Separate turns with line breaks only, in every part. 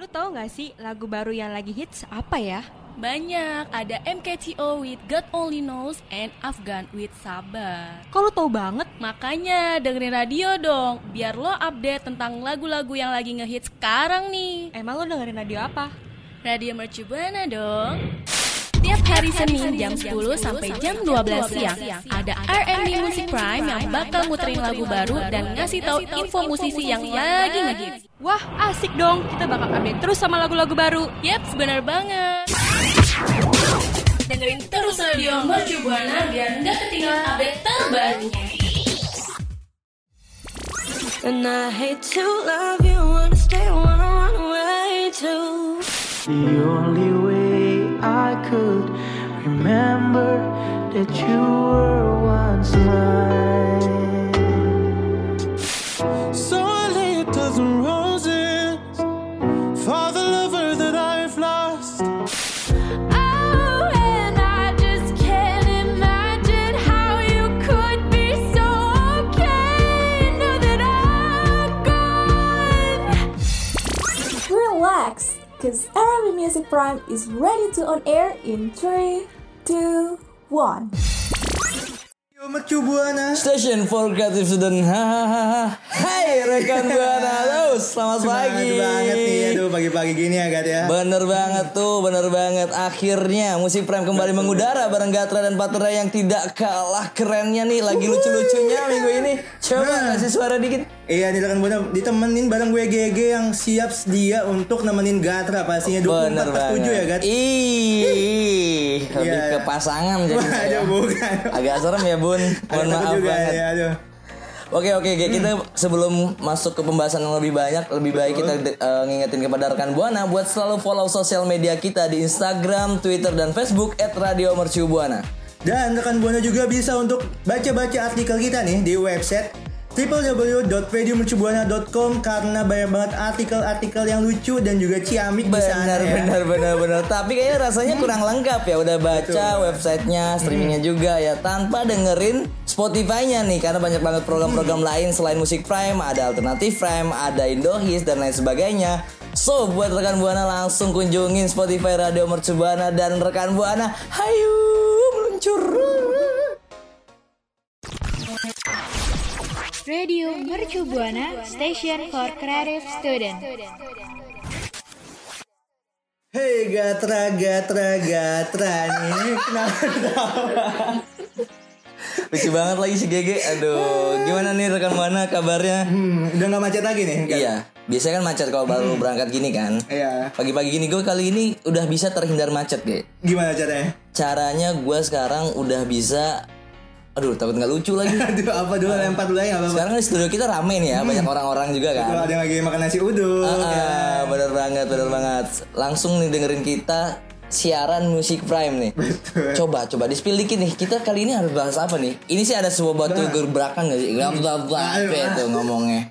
Lu tahu nggak sih lagu baru yang lagi hits apa ya?
Banyak, ada MKTO with God Only Knows and Afghan with Sabar.
Kok lu tahu banget?
Makanya dengerin radio dong, biar lo update tentang lagu-lagu yang lagi ngehits sekarang nih.
Emang lu dengerin radio apa?
Radio Mercu Buana dong. Tiap hari Senin jam 10 sampai jam 12 siang ada R&B Music Prime yang bakal muterin lagu baru dan ngasih tahu info musisi yang lagi ngehits.
Wah, asik dong. Kita bakal update terus sama lagu-lagu baru.
Yep, benar banget. Dengerin terus radio Mercu Buana biar nggak ketinggalan update terbarunya.
And I hate to love you, wanna stay, wanna run away too.
The only way I could remember that you were once mine. So I lay a dozen roses for the lover that I've lost.
Oh, and I just can't imagine how you could be so okay. Know that I'm gone.
Relax, cause Arabic Music Prime is ready to on air in 3, 2, 1.
Station for Creative Student. Hahaha. Hai rekan buana, halo, selamat pagi.
Semangat banget nih, aduh pagi-pagi gini ya Gat ya.
Bener banget tuh, bener banget. Akhirnya musik prime kembali mengudara bareng Gatra dan Patra yang tidak kalah kerennya nih, lagi lucu-lucunya minggu ini.
Nah.
Coba kasih suara dikit.
Iya nih rekan Buana ditemenin bareng gue GG yang siap sedia untuk nemenin Gatra pastinya 24
Bener
pas
banget.
7 ya Gat.
Ih, lebih
Iya.
ke pasangan jadi.
Wah,
saya.
aduh bukan.
Agak serem ya bun, mohon
Agak takut
maaf
juga,
banget.
Ya, aduh.
Oke oke oke. kita sebelum masuk ke pembahasan yang lebih banyak lebih baik kita de- eh, ngingetin kepada rekan Buana buat selalu follow sosial media kita di Instagram, Twitter dan Facebook @radiomercubuana.
Dan rekan Buana juga bisa untuk baca-baca artikel kita nih di website www.radiomercubuana.com karena banyak banget artikel-artikel yang lucu dan juga ciamik di sana
Benar
ya.
benar benar benar. Tapi kayaknya rasanya kurang lengkap ya udah baca
Hmm.
websitenya, streamingnya juga ya tanpa dengerin Spotify-nya nih karena banyak banget program-program
Hmm.
lain selain musik Prime, ada alternatif Prime, ada Indohis dan lain sebagainya. So buat rekan Buana langsung kunjungin Spotify Radio Mercu Buana dan rekan Buana, hayu meluncur.
Radio Mercu Buana Station for Creative Student.
Hei Gatra, Gatra, Gatra nih Kenapa ketawa?
Lucu banget lagi si Gege. Aduh, gimana nih rekan Buana kabarnya?
Hmm, udah gak macet lagi nih Gat?
Iya, biasanya kan macet kalau
Hmm.
baru berangkat gini kan.
Iya
Pagi-pagi gini gue kali ini udah bisa terhindar macet deh.
Gimana caranya?
Caranya gue sekarang udah bisa, aduh takut nggak lucu lagi.
Aduh apa
Ah.
dulu lempar dulu aja gak apa-apa
Sekarang kan di studio kita rame nih ya, banyak orang-orang juga kan.
Kalau ada yang lagi makan nasi uduk
Ah,
Hmm. ya.
bener banget, bener banget. Langsung nih dengerin kita siaran musik prime nih. Coba, coba di spill dikit nih. Kita kali ini harus bahas apa nih? Ini sih ada sebuah batu gebrakan gak sih? Gak apa-apa
Aduh, Nah. ah.
itu ngomongnya.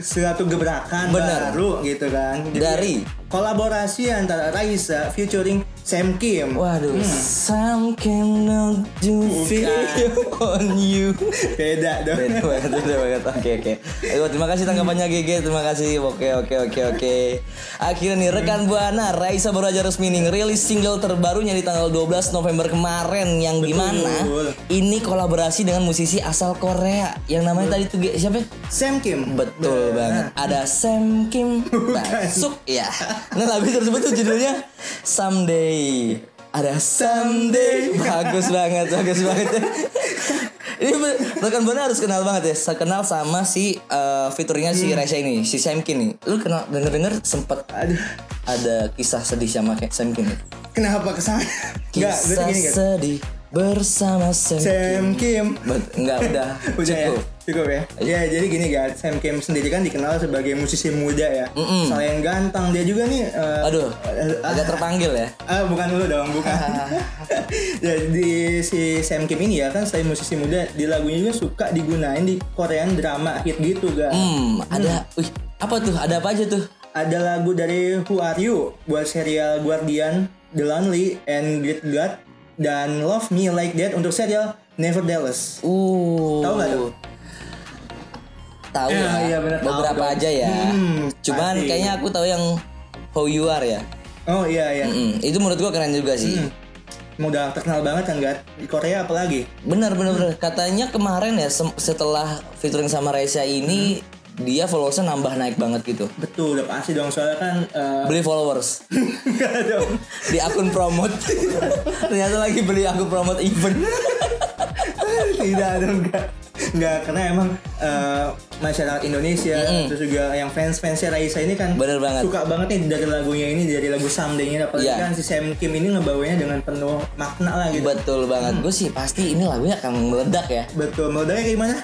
Suatu gebrakan
Bener.
baru gitu kan Jadi,
Dari?
Kolaborasi antara Raisa featuring Sam Kim
Waduh, some cannot do video on you.
Beda dong
Beda banget, beda banget. Oke, oke. Aduh, terima kasih tanggapannya GG, terima kasih. Oke, oke, oke, oke. Akhirnya nih rekan Buana Raisa baru aja resmi nih rilis single terbarunya di tanggal 12 November kemarin yang gimana
Betul.
ini kolaborasi dengan musisi asal Korea yang namanya tadi tuh Ge- siapa? ya?
Sam Kim Iya.
Betul banget. Ada Sam Kim Suk ya. Nah lagu tersebut tuh judulnya Someday. Ada Someday. Bagus banget, bagus banget. Ini be- rekan Buana harus kenal banget ya. Saya kenal sama si eh, fiturnya si Raisa ini, si Sam Kim nih. Lu kenal denger-denger sempet
Hmm. Aduh
ada kisah sedih sama kayak Sam Kim. nih.
Kenapa kesana? Enggak, berarti
Kisah
gini kan
sedih bersama Sam,
Sam
Kim.
Kim
Bet- enggak udah.
Udah ya?
cukup. Iya.
Cukup ya? Ya jadi gini guys, Sam Kim sendiri kan dikenal sebagai musisi muda ya Selain ganteng, dia juga nih eh,
Aduh,
eh, ah,
agak terpanggil ya.
Ah, bukan lu dong, bukan. Jadi Ya, si Sam Kim ini ya kan selain musisi muda, di lagunya juga suka digunain di Korean drama hit gitu guys.
Hmm, ada, wih, apa tuh? Ada apa aja tuh?
Ada lagu dari Who Are You buat serial Guardian, The Lonely, and Great God, dan Love Me Like That untuk serial Nevertheless.
Uh,
Tahu nggak tuh?
Tahu
Ya,
ya,
iya benar, tahu
beberapa
dong.
aja ya.
Hmm,
Cuman
pasti.
kayaknya aku tahu yang How You Are ya.
Oh iya iya.
Mm-mm. Itu menurut gua keren juga sih.
Hmm. Emang udah terkenal banget kan Gat di Korea apalagi
Bener bener
Hmm.
bener. Katanya kemarin ya sem- setelah featuring sama Raisa ini
Hmm.
dia followersnya nambah naik banget gitu.
betul udah pasti dong soalnya kan eh,
Beli followers
enggak dong
di akun promote. Ternyata lagi beli akun promote event.
tidak dong enggak enggak karena emang eh, masyarakat Indonesia terus juga yang fans fansnya Raisa ini kan
Bener banget.
suka banget nih dari lagunya ini dari lagu Someday ini apalagi
Iya.
kan si Sam Kim ini ngebawanya dengan penuh makna lah gitu
Betul banget. Gue sih pasti ini lagunya akan meledak ya.
betul meledaknya kayak gimana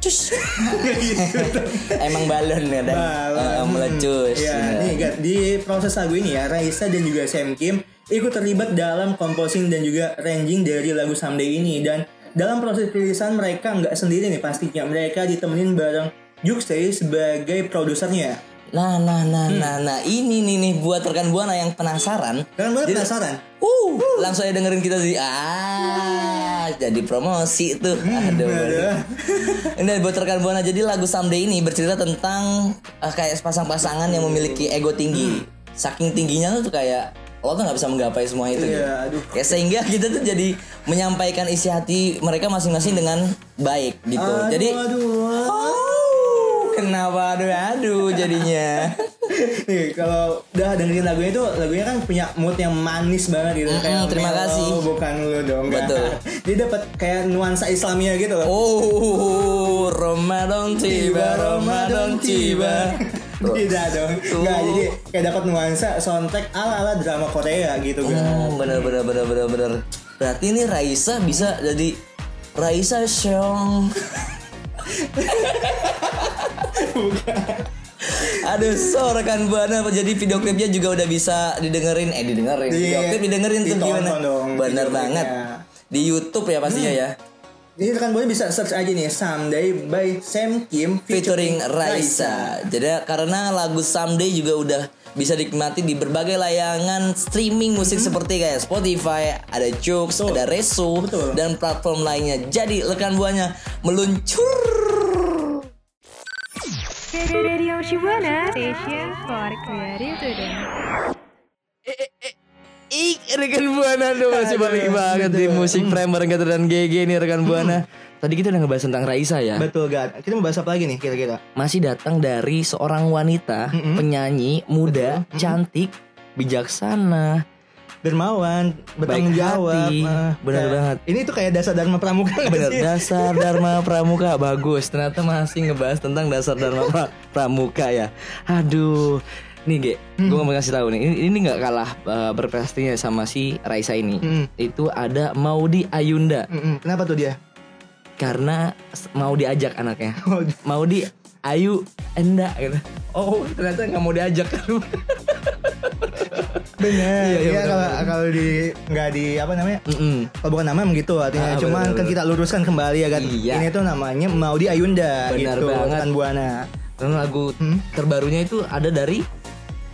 Cus.
Kayak gitu
Emang balon ya dan
Balon.
eh, melecus.
Ya,
Bener.
nih Gat, di proses lagu ini ya, Raisa dan juga Sam Kim ikut terlibat dalam composing dan juga arranging dari lagu Someday ini dan dalam proses perilisan mereka nggak sendiri nih pastinya mereka ditemenin bareng Juxtay sebagai produsernya.
Nah, nah, nah,
Hmm.
nah, nah, ini nih nih buat rekan buana yang penasaran.
Kalian boleh penasaran?
Uh, langsung aja dengerin kita sih. Ah, jadi promosi tuh.
Hmm,
Aduh.
aduh.
Ini buat rekan buana. Jadi lagu Someday ini bercerita tentang eh, kayak sepasang pasangan yang memiliki
Hmm.
ego tinggi. Saking tingginya tuh kayak lo tuh nggak bisa menggapai semua itu. gitu.
Iya, aduh.
Ya sehingga kita tuh jadi menyampaikan isi hati mereka masing-masing dengan baik gitu.
Aduh,
jadi
aduh.
Oh, kenapa aduh aduh jadinya.
Nih, kalau udah dengerin lagunya itu lagunya kan punya mood yang manis banget gitu
Mm-mm,
kayak
terima
mellow,
kasih.
bukan lu dong Gat.
Betul.
dia dapat kayak nuansa Islamnya gitu loh
Oh, Ramadan tiba, Ramadan tiba.
Tidak dong. Enggak, jadi kayak dapat nuansa soundtrack ala-ala drama Korea gitu kan.
Oh, bener bener bener bener bener. Berarti ini Raisa bisa jadi Raisa Seong. Aduh, so rekan buana jadi video klipnya juga udah bisa didengerin, eh didengerin,
Di-
video klip didengerin tuh
ditonton
gimana?
dong
Bener
video klipnya.
banget. Di YouTube ya pastinya ya.
Jadi kan boleh bisa search aja nih Someday by Sam Kim
featuring Raisa. Jadi karena lagu Someday juga udah bisa dinikmati di berbagai layangan streaming musik seperti kayak Spotify, ada Joox,
Betul.
ada Resu
Betul.
dan platform lainnya. Jadi rekan buahnya meluncur.
Radio Shibuana, Station for Creative Student.
Ih, rekan buana tuh masih balik banget Mm. di musik prime bareng Gatot dan GG nih rekan buana. Tadi kita udah ngebahas tentang Raisa ya.
Betul Gat. Kita mau bahas apa lagi nih kira-kira?
Masih datang dari seorang wanita, penyanyi, muda, cantik, bijaksana,
Dermawan, bertanggung
Baik
jawab.
hati.
eh,
Bener
kayak-
banget.
Ini tuh kayak dasar dharma pramuka nggak
Bener,
sih?
dasar Dharma Pramuka bagus. Ternyata masih ngebahas tentang dasar Dharma Pra- Pramuka ya. Aduh. Nih Ge, gue mau kasih tahu nih. Ini ini nggak kalah eh, berprestasinya sama si Raisa ini.
Mm-mm.
Itu ada Maudi Ayunda
Mm-mm. Kenapa tuh dia?
karena s- mau diajak anaknya.
Oh,
Maudi Ayu Enda gitu. Oh, ternyata nggak mau diajak.
bener.
Iya, iya,
Iya,
bener,
kalau
bener.
kalau di nggak di apa namanya?
Mm-mm.
Kalau bukan nama emang gitu artinya.
Ah,
Cuman
bener,
kan
bener.
kita luruskan kembali ya kan.
Iya.
Ini tuh namanya Maudi Ayunda
Bener
gitu.
banget.
Rekan Buana.
Dan lagu
Hmm.
terbarunya itu ada dari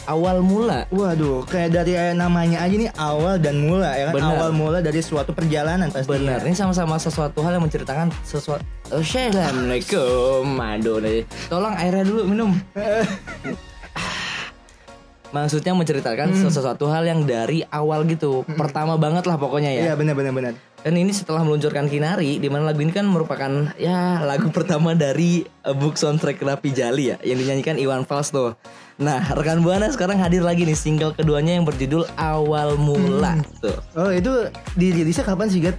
awal mula.
Waduh, kayak dari eh, namanya aja nih awal dan mula ya kan.
Benar.
Awal mula dari suatu perjalanan pasti. ya.
Benar, ini sama-sama sesuatu hal yang menceritakan sesuatu. Assalamualaikum, aduh, udah- tolong airnya dulu minum. Maksudnya menceritakan sesuatu hal yang dari awal gitu, pertama banget lah pokoknya ya.
Iya, benar benar benar.
Dan ini setelah meluncurkan Kinari, di mana lagu ini kan merupakan ya lagu pertama dari eh, book soundtrack Rapi Jali ya, yang dinyanyikan Iwan Fals tuh. Nah, rekan buana sekarang hadir lagi nih single keduanya yang berjudul Awal Mula tuh.
Oh, itu dirilisnya kapan sih, Gat?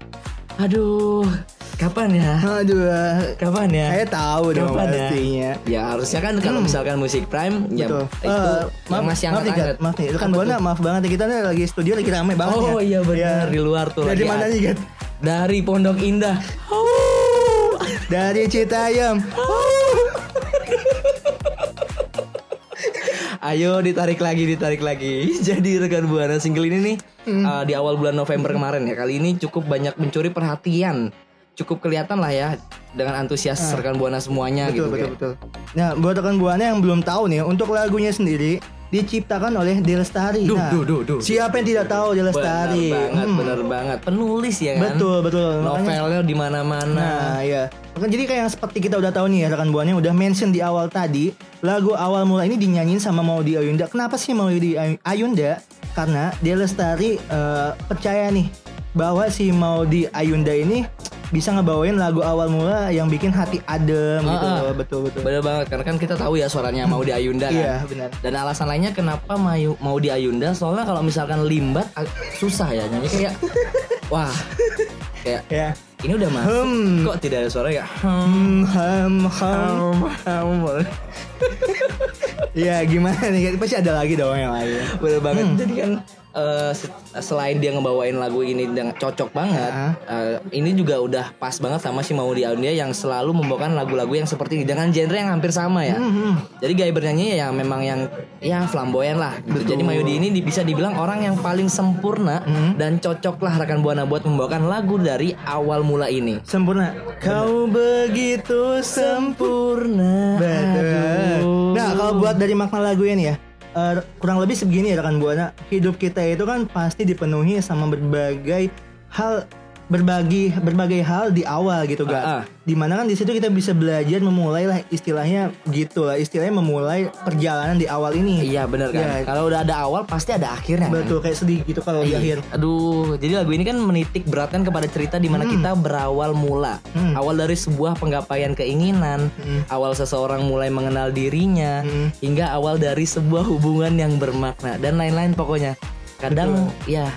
Aduh, kapan ya?
Aduh, eh,
Kapan ya?
saya tahu dong
Kapan ya?
pastinya.
Ya harusnya kan kalau misalkan musik prime ya
Hmm. Betul.
itu
Eh,
yang masih
maaf nih,
angkat-angkat.
Gat. Maaf nih, itu kan
Apa
Buana,
tuh?
maaf banget ya kita nih lagi studio lagi rame banget ya.
Oh iya benar
Iya.
di luar tuh
Dari
lagi
mana
ada.
nih, Gat?
Dari Pondok Indah.
Dari Citayam.
Ayo ditarik lagi, ditarik lagi. Jadi rekan buana single ini nih
Hmm.
uh, di awal bulan November kemarin ya. Kali ini cukup banyak mencuri perhatian. Cukup kelihatan lah ya dengan antusias rekan buana
Ah.
semuanya
betul,
gitu.
betul,
kayak.
betul. Nah, buat rekan Buana yang belum tahu nih, untuk lagunya sendiri diciptakan oleh Delestari.
Duh,
Nah,
duh, duh, duh.
Siapa yang tidak tahu Delestari?
Benar banget,
Hmm,
benar banget. Penulis ya kan? nah.
Betul, betul. Makanya-
Novelnya di mana-mana.
Nah, ya. Maka jadi kayak yang seperti kita udah tahu nih ya rekan buahnya udah mention di awal tadi, lagu awal mula ini dinyanyiin sama Maudi Ayunda. Kenapa sih Maudi Ay- Ayunda? Karena dia lestari eh, percaya nih bahwa si Maudi Ayunda ini bisa ngebawain lagu awal mula yang bikin hati adem gitu
Ah, ah.
loh. Betul, betul.
Bener banget karena kan kita tahu ya suaranya mau di Ayunda kan.
Iya, benar.
Dan alasan lainnya kenapa mau mau di Ayunda soalnya kalau misalkan limbat ag- susah ya nyanyi kayak wah kayak
Ya.
ini udah masuk
Hmm.
kok tidak ada suara ya.
Hmm, ham, ham. Ya gimana nih? Pasti ada lagi dong yang lain.
Bener banget.
Hmm.
Jadi kan eh, se- selain dia ngebawain lagu ini dengan cocok banget,
Ah.
eh, ini juga udah pas banget sama si Maudi Ayunda yang selalu membawakan lagu-lagu yang seperti ini dengan genre yang hampir sama ya.
Hmm,
Jadi gaya bernyanyi ya memang yang ya flamboyan lah. gitu. Jadi Maudi ini di- bisa dibilang orang yang paling sempurna
Hmm.
dan cocok lah rekan buana buat membawakan lagu dari awal mula ini.
Sempurna. Kau begitu sempurna. Betul. Nah, kalau buat dari makna lagunya nih ya. eh, kurang lebih segini ya rekan buana. Hidup kita itu kan pasti dipenuhi sama berbagai hal berbagi berbagai hal di awal gitu gak?
Ah, ah.
Dimana kan di situ kita bisa belajar memulai lah istilahnya gitu lah istilahnya memulai perjalanan di awal ini.
Iya bener
Iya.
kan. Kalau udah ada awal pasti ada akhirnya. kan?
Betul kayak sedih gitu kalau di
Iya.
akhir.
Aduh, jadi lagu ini kan menitik beratkan kepada cerita di mana kita berawal mula.
Hmm.
Awal dari sebuah penggapaian keinginan,
Hmm.
awal seseorang mulai mengenal dirinya,
Hmm.
hingga awal dari sebuah hubungan yang bermakna dan lain-lain pokoknya. Kadang ya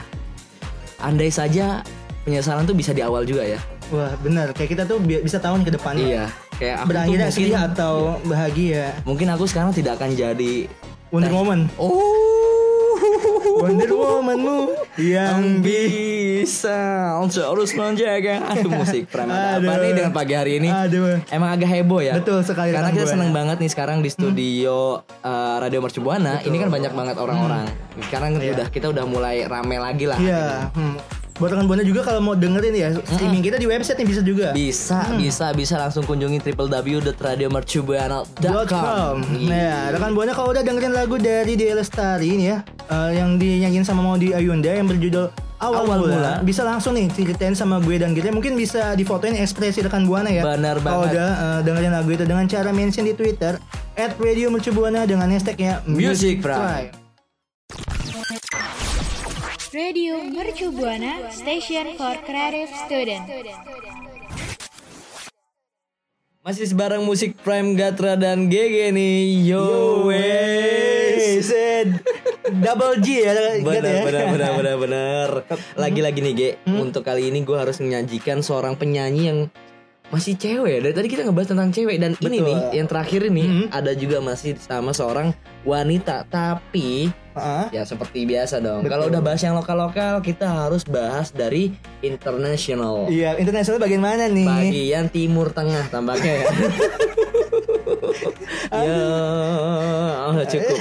andai saja penyesalan tuh bisa di awal juga ya.
Wah benar kayak kita tuh bi- bisa tahu nih ke depannya.
Iya, kayak aku tuh
Berakhirnya
mungkin
sedih atau bahagia.
mungkin aku sekarang tidak akan jadi
Wonder
Nah.
Woman.
Oh.
Wonder Womanmu yang
yang
bi
bisa terus menjaga aduh musik prime ada apa
Aduh.
nih dengan pagi hari ini
Aduh.
emang agak heboh ya
Betul sekali, Hmm.
karena
Kang
kita
Buana.
seneng banget nih sekarang di studio eh, radio mercubuana ini kan banyak banget orang-orang sekarang udah kita udah mulai rame lagi lah
Hmm. Iya. Hmm. Buat rekan Buana juga kalau mau dengerin ya streaming kita di website nih bisa juga.
bisa
Hmm.
bisa bisa langsung kunjungi www.radiomercubuana.com
.com. Nah, rekan Buana kalau udah dengerin lagu dari Dia Lestari ini ya, eh, yang dinyanyiin sama Maudi Ayunda yang berjudul Awal,
Awal
Mula,
Mula.
bisa langsung nih ceritain sama gue dan kita mungkin bisa difotoin ekspresi rekan Buana ya.
Benar
Kalau
banget.
udah eh, dengerin lagu itu dengan cara mention di Twitter @radiomercubuana dengan hashtagnya
Music Prime.
Prime.
Radio Mercu Buana, Station for Creative Student.
masih bareng musik prime gatra dan gg nih yo, wes.
Wes. Double G ya, ingat ya. Hmm?
benar benar benar benar benar lagi-lagi nih Ge untuk kali ini gue harus menyajikan seorang penyanyi yang masih cewek ya dari tadi kita ngebahas tentang cewek dan
Betul. Hmm?
ini nih yang terakhir ini ada juga masih sama seorang wanita tapi
Ah,
ya seperti biasa dong
Betul.
kalau udah bahas yang lokal-lokal kita harus bahas dari internasional
Iya, internasional bagian mana nih?
bagian
Iya.
timur tengah tampaknya ya. ya udah cukup.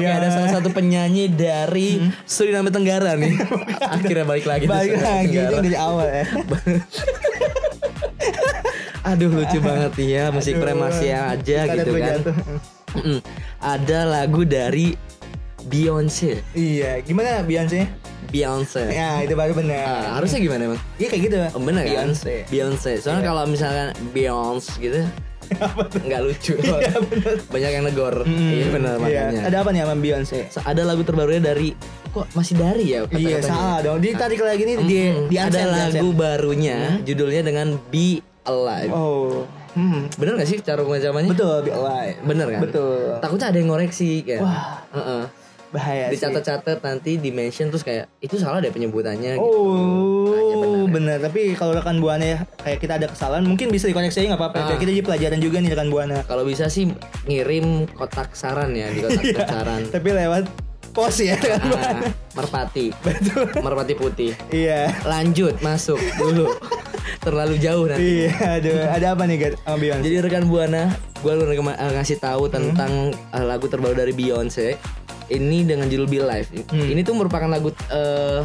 Oke
Ya.
ada salah satu penyanyi dari Suriname Tenggara nih. Akhirnya balik lagi. di
Hmm. Balik
Suriname
lagi
Tenggara.
itu dari awal ya.
Aduh lucu banget nih ya musik
Aduh,
premasi aja
kita
gitu
ada
kan.
jatuh.
Mm-mm. Ada lagu dari Beyonce.
Iya, gimana Beyonce?
Beyonce.
Ya, itu baru benar.
Iya. Ah, harusnya gimana emang?
Iya kayak gitu.
Oh, bener kan?
Beyonce. Iya.
Beyonce. Soalnya kalau misalkan Beyonce gitu nggak lucu. Banyak yang negor. Iya benar
Iya.
makanya.
Ada apa nih sama Beyonce?
Sa- Ada lagu terbarunya dari kok masih dari ya
Iya,
kata-katanya?
salah dong. Ditarik lagi nih di
Mm-mm.
di
ada
absen, di absen.
lagu barunya judulnya dengan Be Alive.
Oh. Hmm.
Bener gak sih cara pengajamannya?
Betul, Be Alive.
Bener kan?
Betul.
Takutnya ada yang ngoreksi kan.
Wah.
Heeh.
Bahaya sih.
Dicatat-catat nanti di mention terus kayak itu salah deh penyebutannya gitu. Nah,
Oh,
iya bener.
benar. Oh, Tapi kalau rekan buana ya, kayak kita ada kesalahan, mungkin bisa dikoneksi aja nggak apa-apa.
Ah.
Biar Kita jadi pelajaran juga nih rekan buana.
Kalau bisa sih ngirim kotak saran ya di kotak
Iya.
saran.
Tapi lewat pos ya rekan buana.
Ah, merpati. Merpati putih.
Iya.
Lanjut masuk dulu. Terlalu jauh nanti.
Iya, aduh, ada apa nih Gat, sama Beyonce?
Jadi rekan Buana, gue eh, ngasih tahu tentang eh, lagu terbaru dari Beyonce. Ini dengan judul Be Live. Ini tuh merupakan lagu eh,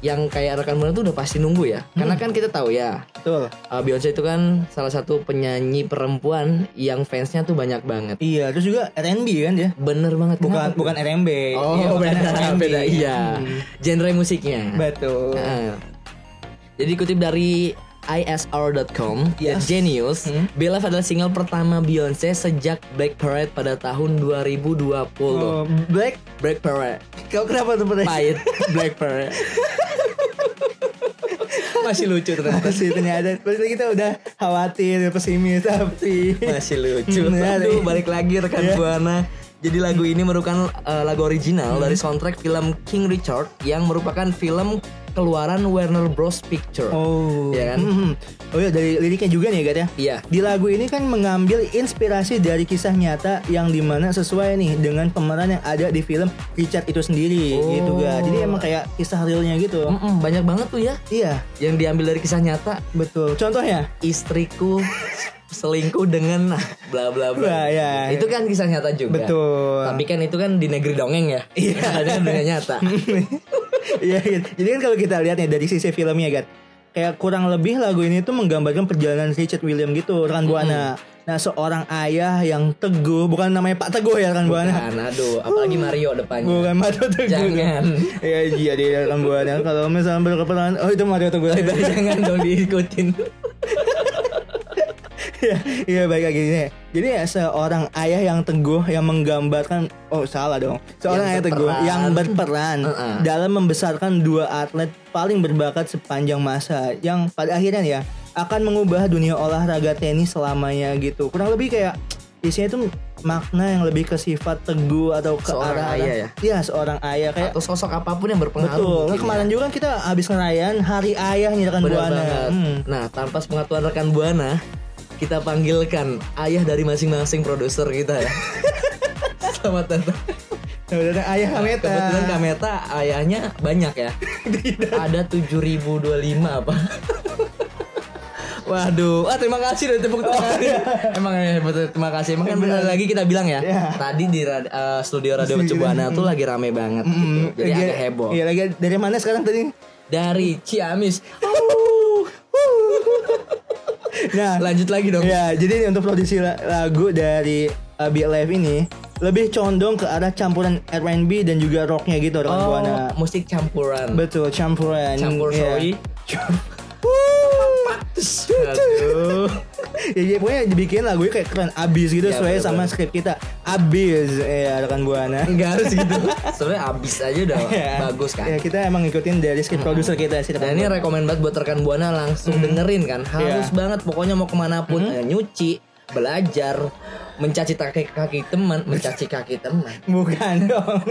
yang kayak rekan Buana tuh udah pasti nunggu ya. Karena kan kita tahu ya,
Betul.
uh, Beyonce itu kan salah satu penyanyi perempuan yang fansnya tuh banyak banget.
Iya, terus juga R&B kan dia.
Bener banget.
Bukan
Kenapa?
bukan R&B.
Oh,
Iya, bukan
beda,
R&B.
beda, iya.
Hmm.
Genre musiknya.
Betul.
Nah, jadi kutip dari ISR.com, ya
Yes.
Genius,
Hmm.
Bella adalah single pertama Beyonce sejak Black Parade pada tahun 2020.
Oh, Black,
Black Parade,
kau kenapa tuh Black?
pahit, Black Parade. Masih lucu ternyata.
Pasti ternyata pasti kita gitu, udah khawatir, pesimis tapi
Masih lucu.
Benar.
Aduh, balik lagi rekan
Iya.
Buana. Jadi lagu ini merupakan eh, lagu original dari soundtrack film King Richard yang merupakan film keluaran Warner Bros Picture.
Oh,
Iya kan?
Mhm. Oh ya dari liriknya juga nih ya, Gat ya.
Iya.
Di lagu ini kan mengambil inspirasi dari kisah nyata yang dimana sesuai nih dengan pemeran yang ada di film Richard itu sendiri
Oh. Hmm.
gitu Gat. Jadi emang kayak kisah realnya gitu.
Mm-mm, banyak banget tuh ya
Iya,
yang diambil dari kisah nyata
betul. Contohnya?
istriku selingkuh dengan bla bla bla.
Wah, ya.
Itu kan kisah nyata juga.
Betul.
Tapi kan itu kan di negeri dongeng ya. Iya. kan dunia nyata.
Iya, gitu. jadi kan kalau kita lihat nih dari sisi filmnya kan, kayak kurang lebih lagu ini tuh menggambarkan perjalanan Richard William gitu, rekan buana. Nah, seorang ayah yang teguh, bukan namanya Pak Teguh ya rekan buana.
Bukan, aduh, apalagi Mario depannya.
Bukan Mario Teguh.
Jangan.
Iya, iya dia rekan buana. Kalau misalnya berkeperan, oh itu Mario Teguh.
Jangan dong diikutin.
Iya, iya baik lagi nih. Jadi ya seorang ayah yang teguh yang menggambarkan oh salah dong. Seorang
Yang
ayah teguh
berperan.
yang berperan
Heeh.
dalam membesarkan dua atlet paling berbakat sepanjang masa yang pada akhirnya nih ya akan mengubah dunia olahraga tenis selamanya gitu. Kurang lebih kayak isinya itu makna yang lebih ke sifat teguh atau ke
Seorang
arah
ayah ya?
Iya, seorang ayah kayak
Atau sosok apapun yang berpengaruh.
Betul. Kan
mungkin
kemarin
ya.
juga kan kita habis ngerayain Hari Ayah nih rekan
Benar
Buana.
banget.
Hmm.
Nah, tanpa sepengetahuan rekan Buana, kita panggilkan ayah dari masing-masing produser kita ya. Selamat datang.
Kebetulan Ayah Kameta.
Kebetulan Kameta ayahnya banyak ya. Ada 7025 apa? Waduh, ah, terima kasih udah
Oh,
tepuk tangan. Emang ya, betul, terima kasih. Emang kan benar lagi kita bilang ya.
Iya.
Tadi di rad- eh, studio Radio
Studio.
Cebuana tuh lagi rame banget gitu.
Mm,
Jadi
lagi-
agak heboh.
Iya lagi dari mana sekarang tadi?
Dari Ciamis. Au.
Nah,
Lanjut lagi dong.
ya jadi ini untuk produksi la- lagu dari uh, Beat Live ini lebih condong ke arah campuran R&B dan juga rocknya gitu rekan
Oh,
Buana.
musik campuran.
Betul, campuran.
Campur
Iya.
soi.
Aduh. ya, ya, pokoknya dibikin lagunya kayak keren abis gitu
Ya,
sesuai
bener-bener.
sama skrip kita abis ya rekan buana
Enggak harus gitu. Sebenarnya abis aja udah bagus kan.
Ya, kita emang ngikutin dari skrip produser kita sih.
Dan ini rekomend banget buat rekan Buana langsung dengerin kan.
Hmm. Iya.
Harus
Hmm.
banget pokoknya mau kemana pun eh, nyuci, belajar, mencaci kaki kaki teman, mencaci kaki teman.
bukan dong.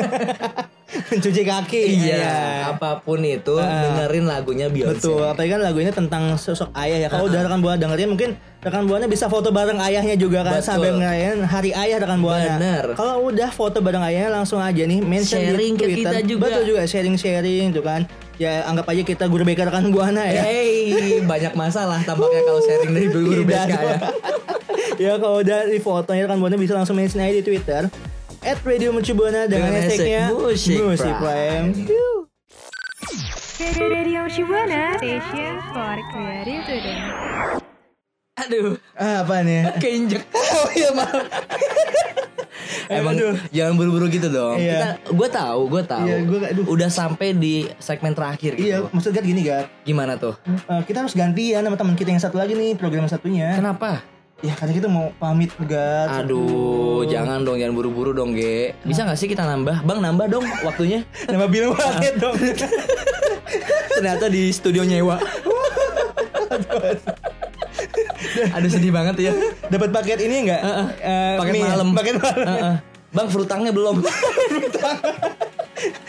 Mencuci kaki. Ya.
Iya, apapun itu dengerin lagunya Beyonce.
Ah. Betul, apalagi kan lagu ini tentang sosok ayah ya. Kalau udah rekan buana dengerin mungkin rekan buana bisa foto bareng ayahnya juga kan
Betul.
sambil ngerayain hari ayah rekan buana.
Bener.
Kalau udah foto bareng ayahnya langsung aja nih mention
Sharing
di
ke
Twitter.
kita juga.
Betul juga sharing-sharing tuh kan. Ya anggap aja kita guru BK rekan buana ya.
Hey, banyak masalah tampaknya kalau sharing dari
Tidak
guru BK ya.
dong. ya kalau udah di fotonya rekan buana bisa langsung mention aja di Twitter at Radio Mercubuana dengan
Dengan hashtag
hashtagnya
Musik Prime.
Prime. Yuh.
Radio Shibuana, Station for Creative Student.
Aduh,
Ah, apa nih?
keinjek. Oh iya maaf. Emang
Eh, Aduh.
jangan buru-buru gitu dong.
Iya.
Kita, gue tahu, gue tahu.
Iya, gua- aduh.
Udah sampai di segmen terakhir gitu.
Iya, maksudnya gini gak?
Gimana tuh?
Eh, kita harus gantian sama teman kita yang satu lagi nih program satunya.
Kenapa?
Ya karena kita mau pamit Gat.
Ah. Aduh, jangan dong, jangan buru-buru dong, Ge. Bisa nggak sih kita nambah? Bang, nambah dong waktunya.
Nama bilang banget dong.
Ternyata di studio nyewa. Aduh sedih banget ya.
Dapat paket ini enggak?
Heeh.
Eh,
Paket
mie ya?
malam.
Paket malam.
Heeh. Bang, frutangnya belum.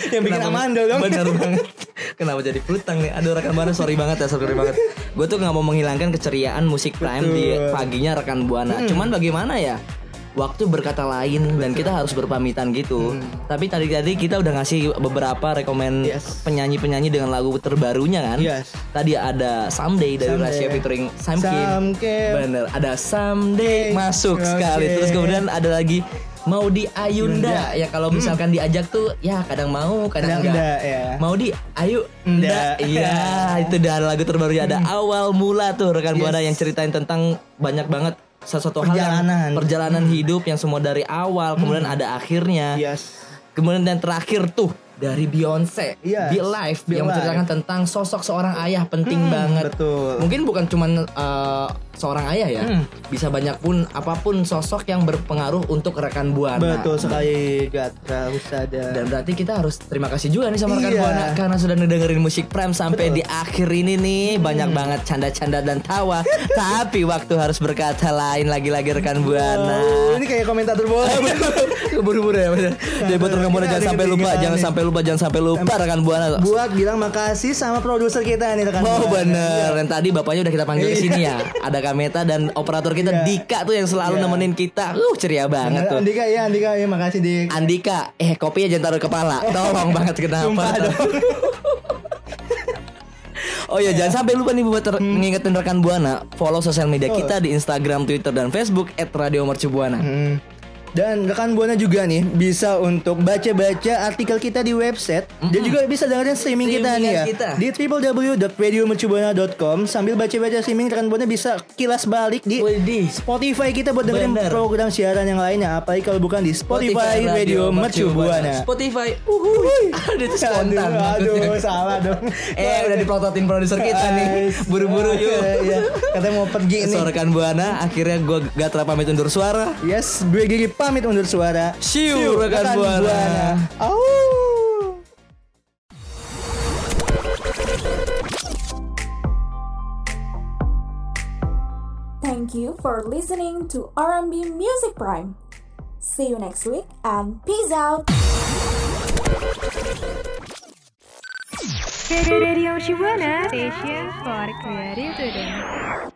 yang bikin
Kenapa?
amandel dong.
Bener banget. Kenapa jadi frutang nih? Aduh rekan buana sorry banget ya, sorry banget. Gue tuh nggak mau menghilangkan keceriaan musik prime di
Betul. Hmm.
paginya rekan buana. Cuman bagaimana ya? Waktu berkata lain dan kita harus berpamitan
Hmm.
gitu. Tapi tadi tadi kita udah ngasih beberapa rekomen
Yes.
penyanyi-penyanyi dengan lagu terbarunya kan.
Yes.
Tadi ada Someday dari
Someday.
Rasya featuring Sam Kim.
Sam Kim.
Bener, ada Someday masuk sekali.
Oke.
Terus kemudian ada lagi mau di
Ayunda.
Ayunda
Hmm.
ya kalau misalkan diajak tuh ya kadang mau kadang,
Kadang
enggak.
enggak, ya.
Mau di Ayu
Nda.
Nda. Iya, itu dari lagu terbarunya ada
Hmm.
awal mula tuh rekan buana yang ceritain tentang banyak banget sesuatu hal
Perjalanan. Hmm.
yang perjalanan hidup yang semua dari awal kemudian ada akhirnya.
Yes.
Kemudian yang terakhir tuh dari Beyonce,
Yes.
Be Live
Be
yang
Live.
menceritakan tentang sosok seorang ayah penting banget.
Betul.
Mungkin bukan cuman eh, seorang ayah ya,
Hmm.
bisa banyak pun apapun sosok yang berpengaruh untuk rekan buana.
Betul sekali Gatra Usada.
Dan berarti kita harus terima kasih juga nih sama rekan
Iya.
Buana karena sudah ngedengerin musik Prime sampai
Betul. Hmm.
di akhir ini nih banyak banget canda-canda dan tawa. Tapi waktu harus berkata lain lagi-lagi rekan Buana.
Oh, ini kayak komentator bola.
Buru-buru ya bener. Jadi buat rekan Buana
kita
jangan
ada
sampai lupa,
kebingungan
jangan
nih.
sampai lupa, jangan sampai lupa rekan Buana.
Buat bilang makasih sama produser kita nih rekan.
Oh
Buana.
bener,
Iya.
yang tadi bapaknya udah kita panggil ke sini ya. Ada Kameta dan operator kita Dika tuh yang selalu nemenin kita. Uh ceria
Iya.
banget
Bener,
tuh.
Andika ya, Andika ya, makasih Dik.
Andika, eh kopinya jangan taruh kepala. Tolong banget
Sumpah
kenapa?
dong.
Oh ya, jangan sampai lupa nih buat ter-
Hmm.
ngingetin rekan Buana, follow sosial media kita di Instagram, Twitter dan Facebook @radiomercubuana.
Hmm. Dan rekan Buana juga nih bisa untuk baca-baca artikel kita di website dan juga bisa dengerin streaming kita nih ya
Streamingan Hmm. kita.
di www.radiomercubuana.com sambil baca-baca streaming rekan Buana bisa kilas balik di
Widih.
Spotify kita buat dengerin
Bener.
program siaran yang lainnya apalagi kalau bukan di Spotify, Radio Mercu Buana.
Spotify. Uhuy. Aduh itu spontan.
Aduh,
maksudnya.
aduh, salah dong.
Eh udah dipelototin produser kita nih. Buru-buru yuk.
Iya, katanya mau pergi nih.
So rekan Buana, akhirnya gue gatra pamit undur suara.
Yes, gue Gigi pamit undur suara.
See you, rekan Buana.
Au.
Thank you for listening to RMB Music Prime. See you next week and peace out.
Radio Shibuana, Station for Creative Student.